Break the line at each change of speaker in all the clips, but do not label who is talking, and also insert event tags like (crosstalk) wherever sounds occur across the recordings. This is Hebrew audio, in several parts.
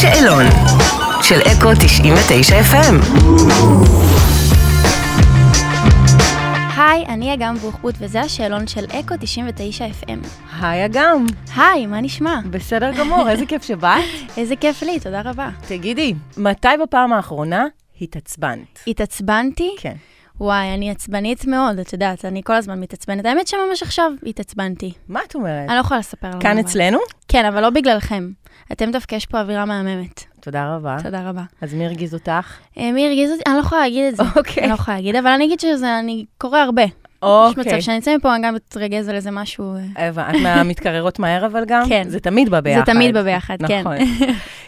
שאלון של אקו 99 FM.
היי, אני אגם בוחבוט, וזה השאלון של אקו 99 FM.
היי אגם,
היי, מה נשמע?
בסדר גמור, איזה כיף שבאת.
איזה כיף לי, תודה רבה.
תגידי, מתי בפעם האחרונה התעצבנת?
התעצבנתי?
כן.
וואי, אני עצבנית מאוד, את יודעת, אני כל הזמן מתעצבנת. האמת שממש עכשיו התעצבנתי.
מה את אומרת?
אני לא יכולה לספר על
כן. כאן
אבל.
אצלנו?
כן, אבל לא בגללכם. אתם דווקא יש פה אווירה מהממת.
תודה רבה.
תודה רבה.
אז מי הרגיז אותך?
אה, מי הרגיז אותי? אני לא יכולה להגיד את (laughs) זה.
אוקיי.
אני לא יכולה להגיד, אבל אני אגיד שזה, אני קורא הרבה. יש
אוקיי.
מצב שאני אצא מפה, אני גם אתרגז על איזה משהו... אה,
הבנ- את מהמתקררות מהר אבל גם?
כן.
זה תמיד בא ביחד.
זה תמיד בביחד, כן. (laughs)
נכון.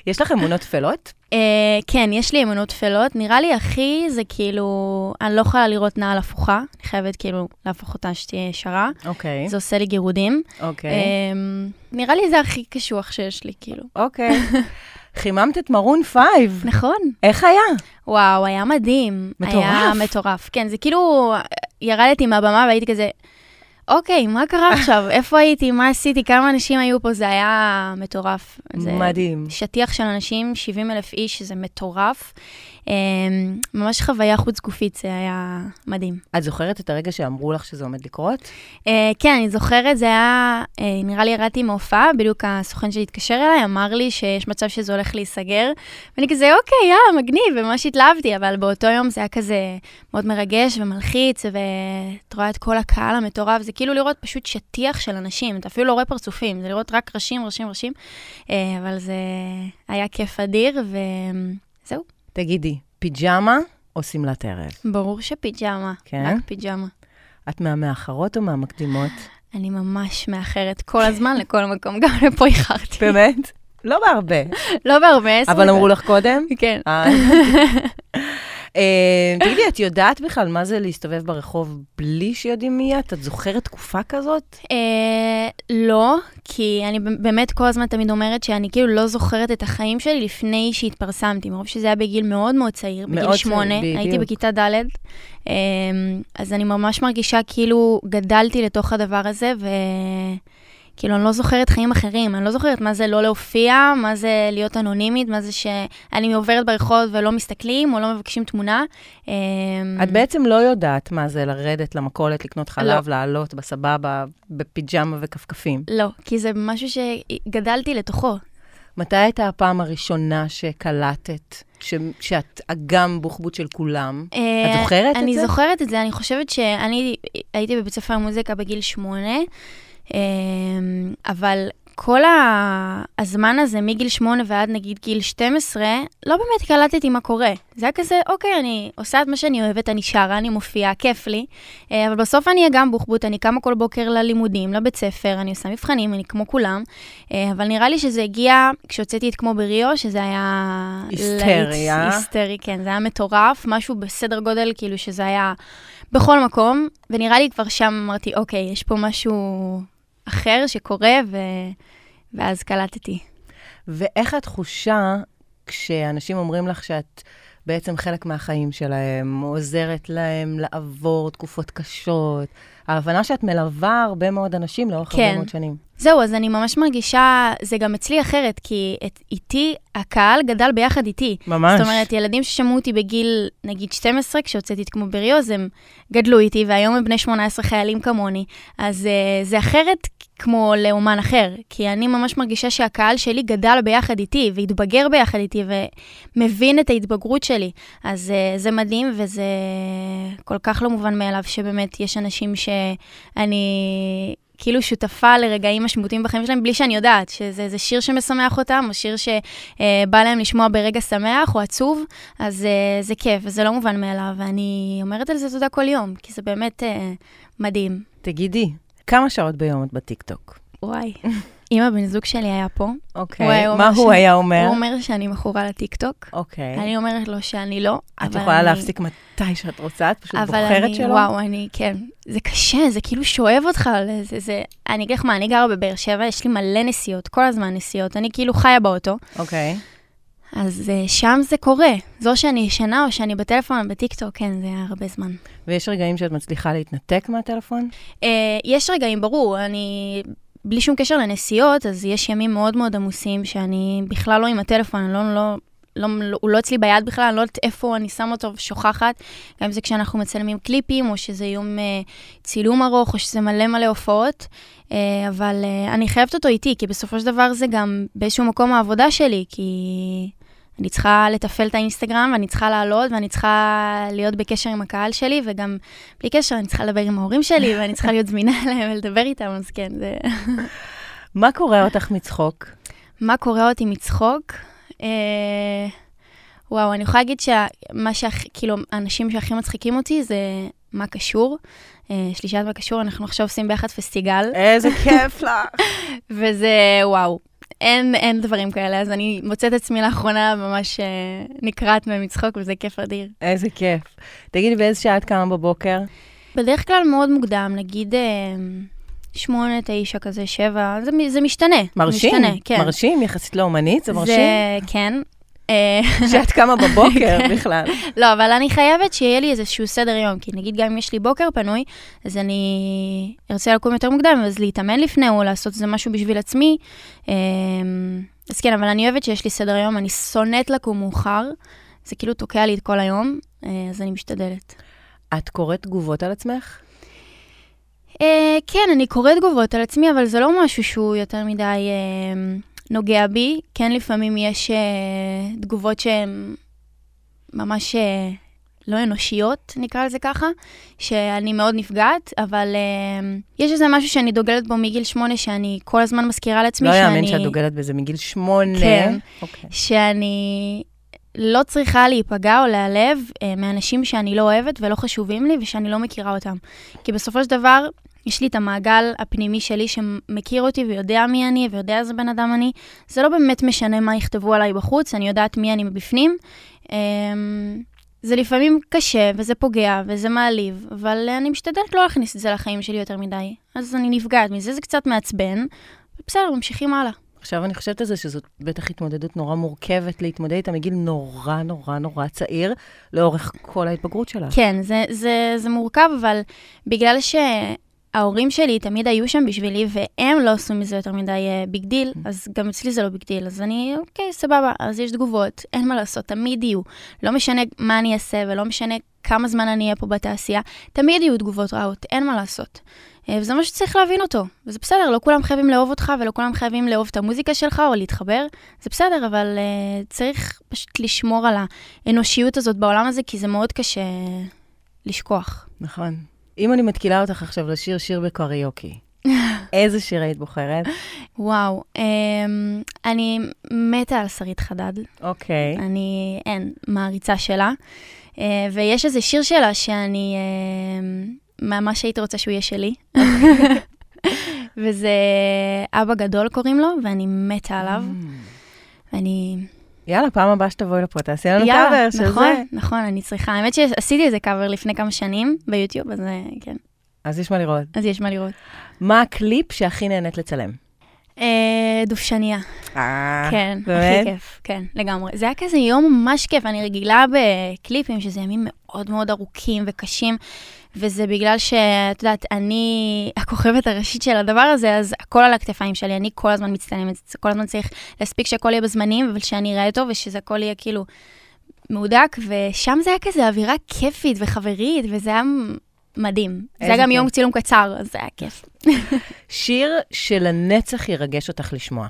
יש לך אמונות טפלות?
אה, כן, יש לי אמונות טפלות. נראה לי הכי זה כאילו, אני לא יכולה לראות נעל הפוכה, אני חייבת כאילו להפוך אותה שתהיה ישרה.
אוקיי.
זה עושה לי גירודים.
אוקיי.
אה, נראה לי זה הכי קשוח שיש לי, כאילו. (laughs)
אוקיי. חיממת את מרון פייב.
נכון.
איך היה?
וואו, היה מדהים.
מטורף.
היה מטורף. כן, זה כאילו, אה, ירדתי מהבמה והייתי כזה, אוקיי, מה קרה עכשיו? איפה הייתי? מה עשיתי? כמה אנשים היו פה? זה היה מטורף. זה...
מדהים.
שטיח של אנשים, 70 אלף איש, זה מטורף. אמ, ממש חוויה חוץ גופית, זה היה מדהים.
את זוכרת את הרגע שאמרו לך שזה עומד לקרות?
אה, כן, אני זוכרת, זה היה, אה, נראה לי ירדתי מהופעה, בדיוק הסוכן שלי התקשר אליי, אמר לי שיש מצב שזה הולך להיסגר, ואני כזה, אוקיי, יאללה, מגניב, וממש התלהבתי, אבל באותו יום זה היה כזה מאוד מרגש ומלחיץ, ואת רואה את כל הקהל המטורף, זה כאילו לראות פשוט שטיח של אנשים, אתה אפילו לא רואה פרצופים, זה לראות רק ראשים, ראשים, ראשים, אה, אבל זה היה כיף אדיר, וזהו,
תגידי, פיג'מה או שמלת ערב?
ברור שפיג'מה,
כן?
רק פיג'מה.
את מהמאחרות או מהמקדימות?
אני ממש מאחרת כל הזמן לכל מקום, גם לפה איחרתי.
באמת? לא בהרבה.
לא בהרבה, עשר
אבל אמרו לך
(laughs)
קודם?
כן.
אה. אה, תגידי, את יודעת בכלל מה זה להסתובב ברחוב בלי שיודעים מי את? את זוכרת תקופה כזאת?
אה, לא, כי אני ב- באמת כל הזמן תמיד אומרת שאני כאילו לא זוכרת את החיים שלי לפני שהתפרסמתי, מרוב שזה היה בגיל מאוד מאוד צעיר,
מאוד
בגיל
צעיר,
שמונה,
בדיוק.
הייתי בכיתה ד', אה, אז אני ממש מרגישה כאילו גדלתי לתוך הדבר הזה, ו... כאילו, אני לא זוכרת חיים אחרים, אני לא זוכרת מה זה לא להופיע, מה זה להיות אנונימית, מה זה שאני עוברת ברחוב ולא מסתכלים או לא מבקשים תמונה. אה,
את בעצם לא יודעת מה זה לרדת למכולת, לקנות חלב, לעלות בסבבה, בפיג'מה וכפכפים.
לא, כי זה משהו שגדלתי לתוכו.
מתי הייתה הפעם הראשונה שקלטת ש- שאת אגם בוחבוט של כולם? את זוכרת את זה?
אה, אני זוכרת את זה, אני חושבת שאני הייתי בבית ספר מוזיקה בגיל שמונה, אמ, אבל כל ה- הזמן הזה, מגיל שמונה ועד נגיד גיל 12, לא באמת קלטתי מה קורה. זה היה כזה, אוקיי, אני עושה את מה שאני אוהבת, אני שרה, אני מופיעה, כיף לי, אה, אבל בסוף אני אגם בוחבוט, אני קמה כל בוקר ללימודים, לבית ספר, אני עושה מבחנים, אני כמו כולם, אה, אבל נראה לי שזה הגיע כשהוצאתי את כמו בריו, שזה היה... להיט
היסטריה.
היסטרי, כן, זה היה מטורף, משהו בסדר גודל, כאילו שזה היה בכל מקום, ונראה לי כבר שם אמרתי, אוקיי, יש פה משהו אחר שקורה, ו... ואז קלטתי.
ואיך התחושה כשאנשים אומרים לך שאת בעצם חלק מהחיים שלהם, עוזרת להם לעבור תקופות קשות, ההבנה שאת מלווה הרבה מאוד אנשים לאורך כן. הרבה
כן.
מאוד שנים.
זהו, אז אני ממש מרגישה, זה גם אצלי אחרת, כי את, איתי, הקהל גדל ביחד איתי.
ממש.
זאת אומרת, ילדים ששמעו אותי בגיל, נגיד 12, כשהוצאתי את כמו בריוז, הם גדלו איתי, והיום הם בני 18 חיילים כמוני. אז uh, זה אחרת כמו לאומן אחר, כי אני ממש מרגישה שהקהל שלי גדל ביחד איתי, והתבגר ביחד איתי, ומבין את ההתבגרות שלי. אז uh, זה מדהים, וזה כל כך לא מובן מאליו שבאמת יש אנשים שאני... כאילו שותפה לרגעים משמעותיים בחיים שלהם בלי שאני יודעת, שזה איזה שיר שמשמח אותם, או שיר שבא להם לשמוע ברגע שמח או עצוב, אז אה, זה כיף, וזה לא מובן מאליו, ואני אומרת על זה תודה כל יום, כי זה באמת אה, מדהים.
תגידי, כמה שעות ביום את בטיקטוק? (laughs)
וואי. אם הבן זוג שלי היה פה,
אוקיי,
וואי, הוא
מה
אומר
הוא
ש-
היה אומר?
הוא אומר שאני מכורה לטיקטוק.
אוקיי.
אני אומרת לו שאני לא, אבל
את יכולה
אני-
להפסיק מתי שאת רוצה, את פשוט
אבל
כאילו, בוחרת
אני,
שלו?
וואו, אני, כן. זה קשה, זה כאילו שואב אותך, זה, זה, אני אגיד לך מה, אני גרה בבאר שבע, יש לי מלא נסיעות, כל הזמן נסיעות, אני כאילו חיה באוטו,
אוקיי.
אז uh, שם זה קורה. זו שאני ישנה או שאני בטלפון, בטיקטוק, כן, זה הרבה זמן.
ויש רגעים שאת מצליחה להתנתק מהטלפון?
Uh, יש רגעים, אה, ברור, אני... בלי שום קשר לנסיעות, אז יש ימים מאוד מאוד עמוסים, שאני בכלל לא עם הטלפון, אני לא, לא, לא, לא, הוא לא אצלי ביד בכלל, אני לא יודעת איפה אני שמה אותו ושוכחת. גם אם זה כשאנחנו מצלמים קליפים, או שזה יום אה, צילום ארוך, או שזה מלא מלא הופעות. אה, אבל אה, אני חייבת אותו איתי, כי בסופו של דבר זה גם באיזשהו מקום העבודה שלי, כי אני צריכה לתפעל את האינסטגרם, ואני צריכה לעלות, ואני צריכה להיות בקשר עם הקהל שלי, וגם בלי קשר, אני צריכה לדבר עם ההורים שלי, ואני צריכה להיות זמינה (laughs) אליהם ולדבר איתם, אז כן, זה...
מה קורע אותך מצחוק?
מה קורע אותי מצחוק? אה, וואו, אני יכולה להגיד שמה שהכי, כאילו, האנשים שהכי מצחיקים אותי זה מה קשור. אה, שלישת מה קשור, אנחנו עכשיו עושים ביחד פסטיגל,
איזה כיף לך.
וזה וואו. אין, אין דברים כאלה, אז אני מוצאת עצמי לאחרונה ממש אה, נקרעת ממצחוק, וזה כיף אדיר.
איזה כיף. תגידי, באיזה שעה את קמה בבוקר?
בדרך כלל מאוד מוקדם, נגיד אה, שמונה, תשע, כזה, שבע, זה, מ- זה משתנה.
מרשים?
משתנה, כן.
מרשים? יחסית לאומנית? זה
(laughs)
מרשים?
זה, כן. אה,
שאת קמה בבוקר
כן.
בכלל.
לא, אבל אני חייבת שיהיה לי איזשהו סדר יום, כי נגיד גם אם יש לי בוקר פנוי, אז אני ארצה לקום יותר מוקדם, אז להתאמן לפני או לעשות איזה משהו בשביל עצמי. אמ, אז כן, אבל אני אוהבת שיש לי סדר יום, אני שונאת לקום מאוחר, זה כאילו תוקע לי את כל היום, אה, אז אני משתדלת.
את קוראת תגובות על עצמך?
אה, כן, אני קוראת תגובות על עצמי, אבל זה לא משהו שהוא יותר מדי אה, נוגע בי. כן, לפעמים יש אה, תגובות שהן ממש אה, לא אנושיות, נקרא לזה ככה, שאני מאוד נפגעת, אבל אה, יש איזה משהו שאני דוגלת בו מגיל שמונה, שאני כל הזמן מזכירה לעצמי
לא
שאני...
יאמן שאת דוגלת בזה מגיל שמונה.
כן.
אוקיי.
שאני לא צריכה להיפגע או להיעלב אה, מאנשים שאני לא אוהבת ולא חשובים לי ושאני לא מכירה אותם. כי בסופו של דבר, יש לי את המעגל הפנימי שלי שמכיר אותי ויודע מי אני ויודע איזה בן אדם אני. זה לא באמת משנה מה יכתבו עליי בחוץ, אני יודעת מי אני מבפנים. אה, זה לפעמים קשה, וזה פוגע, וזה מעליב, אבל אני משתדלת לא להכניס את זה לחיים שלי יותר מדי. אז אני נפגעת מזה, זה קצת מעצבן. בסדר, ממשיכים הלאה.
עכשיו אני חושבת על זה שזאת בטח התמודדות נורא מורכבת להתמודד איתה מגיל נורא נורא נורא צעיר, לאורך כל ההתבגרות שלך.
כן, זה, זה, זה מורכב, אבל בגלל שההורים שלי תמיד היו שם בשבילי, והם לא עשו מזה יותר מדי ביג דיל, אז גם אצלי זה לא ביג דיל, אז אני, אוקיי, סבבה, אז יש תגובות, אין מה לעשות, תמיד יהיו. לא משנה מה אני אעשה ולא משנה כמה זמן אני אהיה פה בתעשייה, תמיד יהיו תגובות רעות, אין מה לעשות. אה, וזה מה שצריך להבין אותו, וזה בסדר, לא כולם חייבים לאהוב אותך ולא כולם חייבים לאהוב את המוזיקה שלך או להתחבר, זה בסדר, אבל uh, צריך פשוט לשמור על האנושיות הזאת בעולם הזה, כי זה מאוד קשה לשכוח.
נכון. אם אני מתקילה אותך עכשיו לשיר שיר
(laughs)
בקריוקי, איזה שיר היית בוחרת?
וואו, um, אני מתה על שרית חדד,
אוקיי.
אה. אני, אין, מעריצה שלה, uh, ויש איזה שיר שלה שאני uh, ממש הייתי רוצה שהוא יהיה שלי.
אוקיי.
(laughs) וזה אבא גדול קוראים לו, ואני מתה עליו,
Mm.
ואני
יאללה, פעם הבאה שתבואי לפה, תעשי לנו
יאללה,
קאבר של זה.
נכון, נכון, אני צריכה. האמת שעשיתי איזה קאבר לפני כמה שנים ביוטיוב, אז אה, כן,
אז יש מה לראות.
אז יש מה לראות.
מה הקליפ שהכי נהנית לצלם?
אה, דובשניה,
אה,
כן, הכי
באמת?
כיף, כן, לגמרי. זה היה כזה יום ממש כיף, אני רגילה בקליפים, שזה ימים מאוד מאוד ארוכים וקשים, וזה בגלל שאת יודעת, אני הכוכבת הראשית של הדבר הזה, אז הכל על הכתפיים שלי, אני כל הזמן מצטלמת, זה- כל הזמן צריך להספיק שהכל יהיה בזמנים, אבל שאני אראה טוב, ושזה הכל יהיה כאילו מהודק, ושם זה היה כזה אווירה כיפית וחברית, וזה היה מדהים. זה היה
איזה
גם יום
כיף.
צילום קצר, אז זה היה כיף.
שיר שלנצח ירגש אותך לשמוע.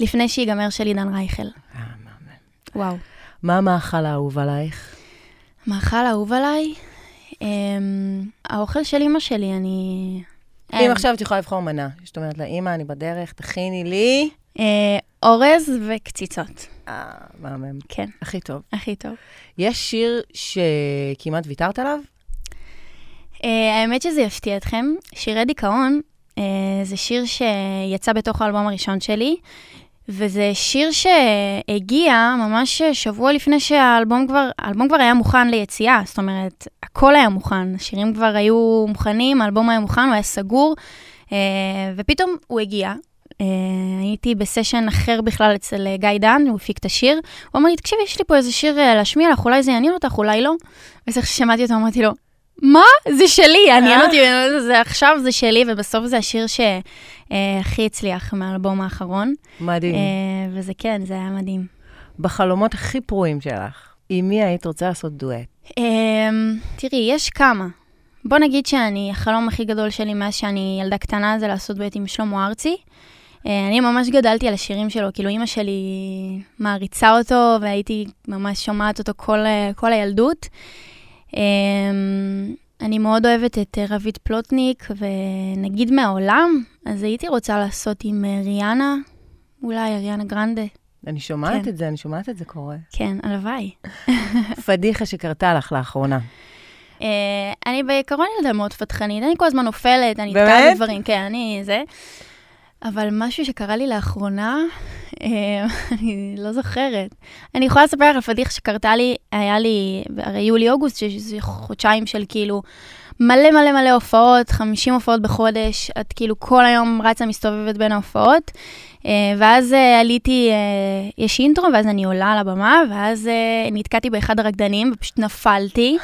לפני שיגמר של עידן רייכל,
אה, מהמם.
וואו.
מה המאכל האהוב עלייך?
מאכל אהוב עליי? אמ, האוכל של אימא שלי, אני...
אם
אין.
עכשיו את יכולה לבחור מנה, זאת אומרת לה, אימא, אני בדרך, תכיני לי.
אה, אורז וקציצות,
אה, מהמם.
כן,
הכי טוב.
הכי טוב.
יש שיר שכמעט ויתרת עליו?
אה, האמת שזה יפתיע אתכם, שירי דיכאון אה, זה שיר שיצא בתוך האלבום הראשון שלי, וזה שיר שהגיע ממש שבוע לפני שהאלבום כבר, האלבום כבר היה מוכן ליציאה, זאת אומרת, הכל היה מוכן, השירים כבר היו מוכנים, האלבום היה מוכן, הוא היה סגור, אה, ופתאום הוא הגיע. אה, הייתי בסשן אחר בכלל אצל אה, גיא דן, הוא הפיק את השיר. הוא אמר לי, תקשיבי, יש לי פה איזה שיר אה, להשמיע לך, אולי זה יעניין אותך, אולי לא. ואז איך ששמעתי אותו, אמרתי לו, מה? זה שלי, עניין אותי, זה עכשיו זה שלי, ובסוף זה השיר שהכי הצליח מהאלבום האחרון.
מדהים.
אה, וזה כן, זה היה מדהים.
בחלומות הכי פרועים שלך, עם מי היית רוצה לעשות דואט?
אמ, תראי, יש כמה. בוא נגיד שאני, החלום הכי גדול שלי מאז שאני ילדה קטנה זה לעשות דואט עם שלמה ארצי. אה, אני ממש גדלתי על השירים שלו, כאילו אימא שלי מעריצה אותו, והייתי ממש שומעת אותו כל, אה, כל הילדות. אמ, אני מאוד אוהבת את אה, רביד פלוטניק, ונגיד מהעולם, אז הייתי רוצה לעשות עם אה, ריאנה, אולי ריאנה גרנדה.
אני שומעת
כן.
את זה, אני שומעת את זה קורה. (laughs)
כן, הלוואי.
פדיחה שקרתה לך
(laughs)
לאחרונה.
אה, אני בעיקרון ילדה מאוד פתחנית, אני כל הזמן נופלת, אני
באמת?
איתה בדברים, כן, אני זה. אבל משהו שקרה לי לאחרונה, אה, (laughs) אני לא זוכרת. אני יכולה לספר לך על פדיחה שקרתה לי, היה לי, הרי יולי-אוגוסט, שזה חודשיים של כאילו מלא מלא מלא הופעות, 50 הופעות בחודש, את כאילו כל היום רצה מסתובבת בין ההופעות. אה, ואז אה, עליתי, אה, יש אינטרו, ואז אני עולה על הבמה, ואז אה, נתקעתי באחד הרקדנים ופשוט נפלתי.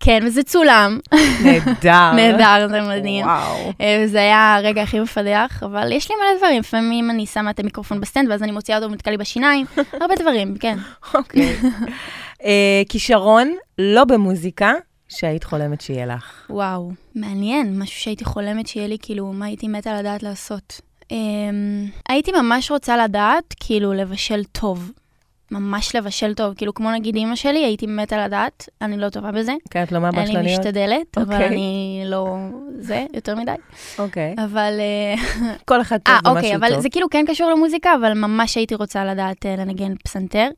כן, וזה צולם.
נהדר.
נהדר, זה מדהים.
אה, וואו.
אה, וזה היה הרגע הכי מפדח, אבל יש לי מלא דברים. לפעמים אני שמה את המיקרופון בסטנד, ואז אני מוציאה אותו ונתקע לי
(laughs)
בשיניים. הרבה דברים, כן.
אוקיי. אה, כישרון, לא במוזיקה, שהיית חולמת שיהיה לך.
וואו, מעניין, משהו שהייתי חולמת שיהיה לי, כאילו, מה הייתי מתה לדעת לעשות. אמ, הייתי ממש רוצה לדעת, כאילו, לבשל טוב. ממש לבשל טוב, כאילו, כמו נגיד אימא שלי, הייתי מתה לדעת, אני לא טובה בזה.
כן, את לא מהבשלניות?
אני משתדלת, אבל
אוקיי.
אני לא... זה, יותר מדי.
אוקיי.
אבל... אה,
כל אחד טוב
אה,
במשהו טוב.
אוקיי, אבל זה כאילו כן קשור למוזיקה, אבל ממש הייתי רוצה לדעת אה, לנגן פסנתר.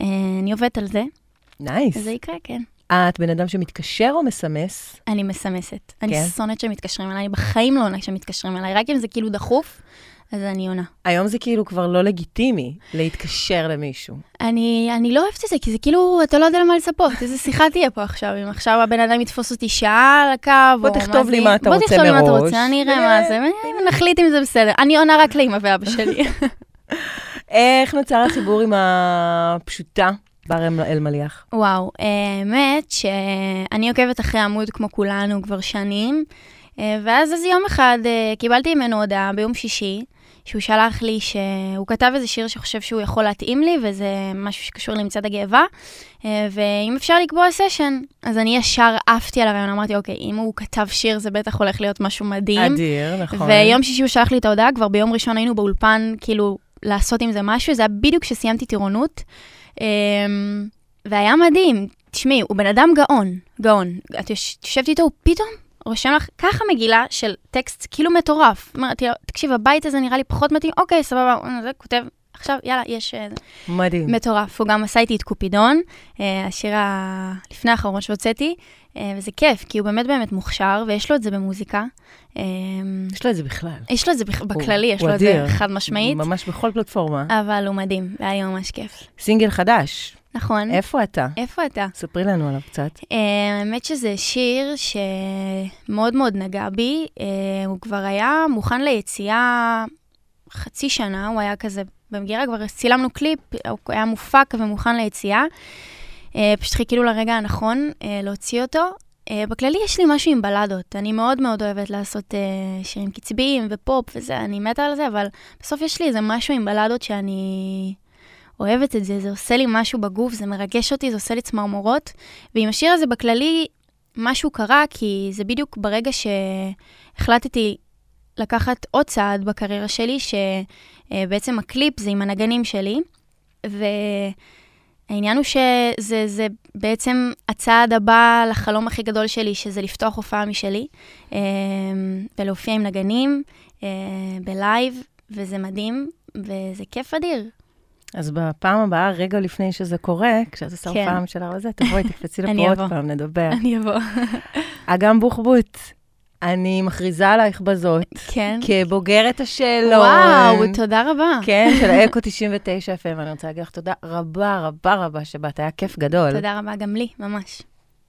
אה, אני עובדת על זה,
נייס.
אז זה יקרה, כן.
את בן אדם שמתקשר או מסמס?
אני מסמסת. אני
כן.
שונאת שמתקשרים אליי, אני בחיים לא עונה כשמתקשרים אליי, רק אם זה כאילו דחוף, אז אני עונה.
היום זה כאילו כבר לא לגיטימי להתקשר למישהו.
אני, אני לא אוהבת את זה, כי זה כאילו, אתה לא יודע למה לצפות, איזה שיחה תהיה פה עכשיו, אם עכשיו הבן אדם יתפוס אותי שעה על הקו,
בוא
או מה
תכתוב
זה-
לי מה אתה
בוא
רוצה
תכתוב לי מה אתה
מראש.
רוצה, אני אראה מה זה, ונחליט אם זה בסדר. אני עונה רק לאמא ואבא שלי.
איך נוצר החיבור עם הפשוטה, בר אל- אלמליח?
וואו, האמת שאני עוקבת אחרי עמוד כמו כולנו כבר שנים, אה, ואז איזה יום אחד אה, קיבלתי ממנו הודעה ביום שישי, שהוא שלח לי שהוא כתב איזה שיר שחושב שהוא יכול להתאים לי, וזה משהו שקשור למצעד הגאווה, אה, ואם אפשר לקבוע סשן. אז אני ישר עפתי על הרעיון, אמרתי, אוקיי, אם הוא כתב שיר זה בטח הולך להיות משהו מדהים.
אדיר, נכון.
ויום שישי הוא שלח לי את ההודעה, כבר ביום ראשון היינו באולפן, כאילו, לעשות עם זה משהו, זה היה בדיוק כשסיימתי טירונות. אמ, והיה מדהים. תשמעי, הוא בן אדם גאון, גאון. את יוש- את יושבת איתו, הוא פתאום רושם לך ככה מגילה של טקסט כאילו מטורף. אמרתי לו, תקשיב, הבית הזה נראה לי פחות מתאים, אוקיי, סבבה, הוא זה, כותב. עכשיו, יאללה, יש... אה, זה."
מדהים.
מטורף. הוא גם עשה איתי את קופידון, אה, השיר ה- לפני האחרון שהוצאתי, אה, וזה כיף, כי הוא באמת באמת מוכשר, ויש לו את זה במוזיקה. אמ,
יש לו את זה בכלל.
יש לו את זה בכ- בכללי, יש
הוא
לו את זה
אדיר.
חד משמעית,
ממש בכל פלטפורמה.
אבל הוא מדהים, והיה לי ממש כיף.
סינגל חדש,
נכון.
איפה אתה?
איפה אתה?
ספרי לנו עליו קצת.
אה, האמת שזה שיר שמאוד מאוד נגע בי. אה, הוא כבר היה מוכן ליציאה חצי שנה, הוא היה כזה במגירה, כבר צילמנו קליפ, הוא היה מופק ומוכן ליציאה. אה, פשוט חיכינו לרגע הנכון אה, להוציא אותו. אה, בכללי יש לי משהו עם בלדות, אני מאוד מאוד אוהבת לעשות אה, שירים קצביים ופופ וזה, אני מתה על זה, אבל בסוף יש לי איזה משהו עם בלדות שאני אוהבת את זה, זה עושה לי משהו בגוף, זה מרגש אותי, זה עושה לי צמרמורות. ועם השיר הזה בכללי, משהו קרה, כי זה בדיוק ברגע שהחלטתי לקחת עוד צעד בקריירה שלי, שבעצם הקליפ זה עם הנגנים שלי, והעניין הוא שזה זה בעצם הצעד הבא לחלום הכי גדול שלי, שזה לפתוח הופעה משלי, אה, ולהופיע עם נגנים אה, בלייב, וזה מדהים, וזה כיף אדיר.
אז בפעם הבאה, רגע לפני שזה קורה, כשאת עושה
כן.
הופעה משלה וזה, תבואי,
(laughs)
תקפצי
אני
לפה עוד
אבוא.
פעם, נדבר.
אני אבוא.
אגם בוחבוט, אני מכריזה עלייך
(laughs)
בזאת,
כן.
כבוגרת
לא.
השאלון.
וואו, תודה רבה.
כן, של אקו 99 FM, אני רוצה להגיד לך תודה רבה רבה רבה שבאת, היה כיף גדול.
תודה רבה גם לי, ממש.